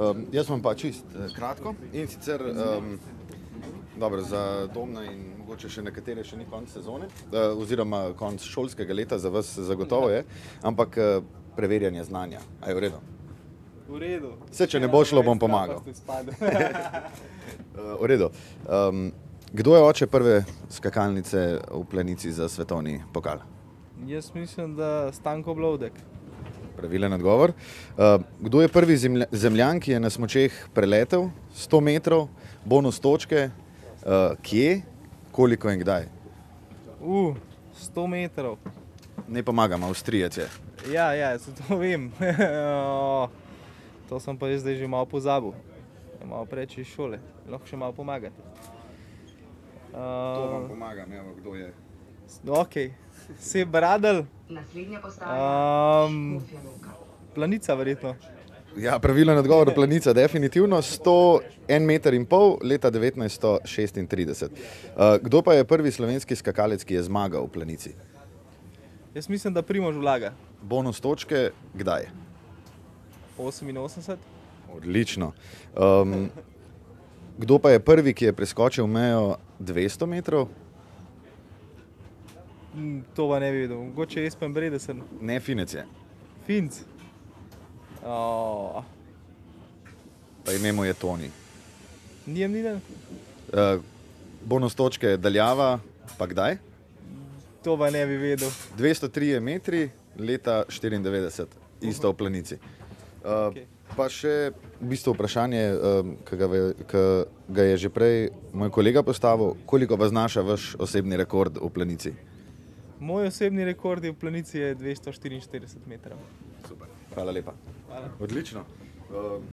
Um, jaz imam pa čist eh, kratko in sicer um, dobro, za Domna in mogoče še nekatere, še ni konec sezone, uh, oziroma konec šolskega leta, za vas zagotovo je, ampak uh, preverjanje znanja. A je v redu? V redu. Saj, če ne bo šlo, bom pomagal. Uh, v redu. Um, kdo je oče prve skakalnice v plenici za svetovni pokal? Jaz mislim, da Stanko Blodek. Pravilen odgovor. Uh, kdo je prvi zemlja, zemljan, ki je na smočeh preletel 100 metrov, bonus točke, uh, kje, koliko in kdaj? U, 100 metrov. Ne pomagam, Avstrijec je. Ja, ja, se to vem. O, to sem pa jaz zdaj že malo pozabil. Malo preveč iz šole, lahko še malo pomagate. Uh, pomagam, evo, kdo je. ok, se bradel, Naslednja postaja Ehm, um, Škofja Loka. planica verjetno. Ja, pravilen odgovor, planica, definitivno 101 meter in pol leta 1936. Uh, kdo pa je prvi slovenski skakalec, ki je zmagal v planici? Jaz mislim, da Primož vlaga. Bonus točke, kdaj? 88. Odlično. Um, kdo pa je prvi, ki je preskočil mejo 200 metrov? Hm, To pa ne bi videl. Mogoče Espen Bredesen, Ne, finec je. Finc. O, Pa ime mu je Toni. nijem niden. Uh, bonus točke, daljava, pa kdaj? To pa ne bi vedel. 203 metri, leta 94, isto v planici. Uh, Okej. pa še v bistvu vprašanje, um, ki ga, ve- ki ga je že prej moj kolega postavil, koliko pa znaša vaš osebni rekord v planici? Moj osebni rekord je v planici je 244 metrov. Super. Hvala lepa. Hvala. Odlično. Um,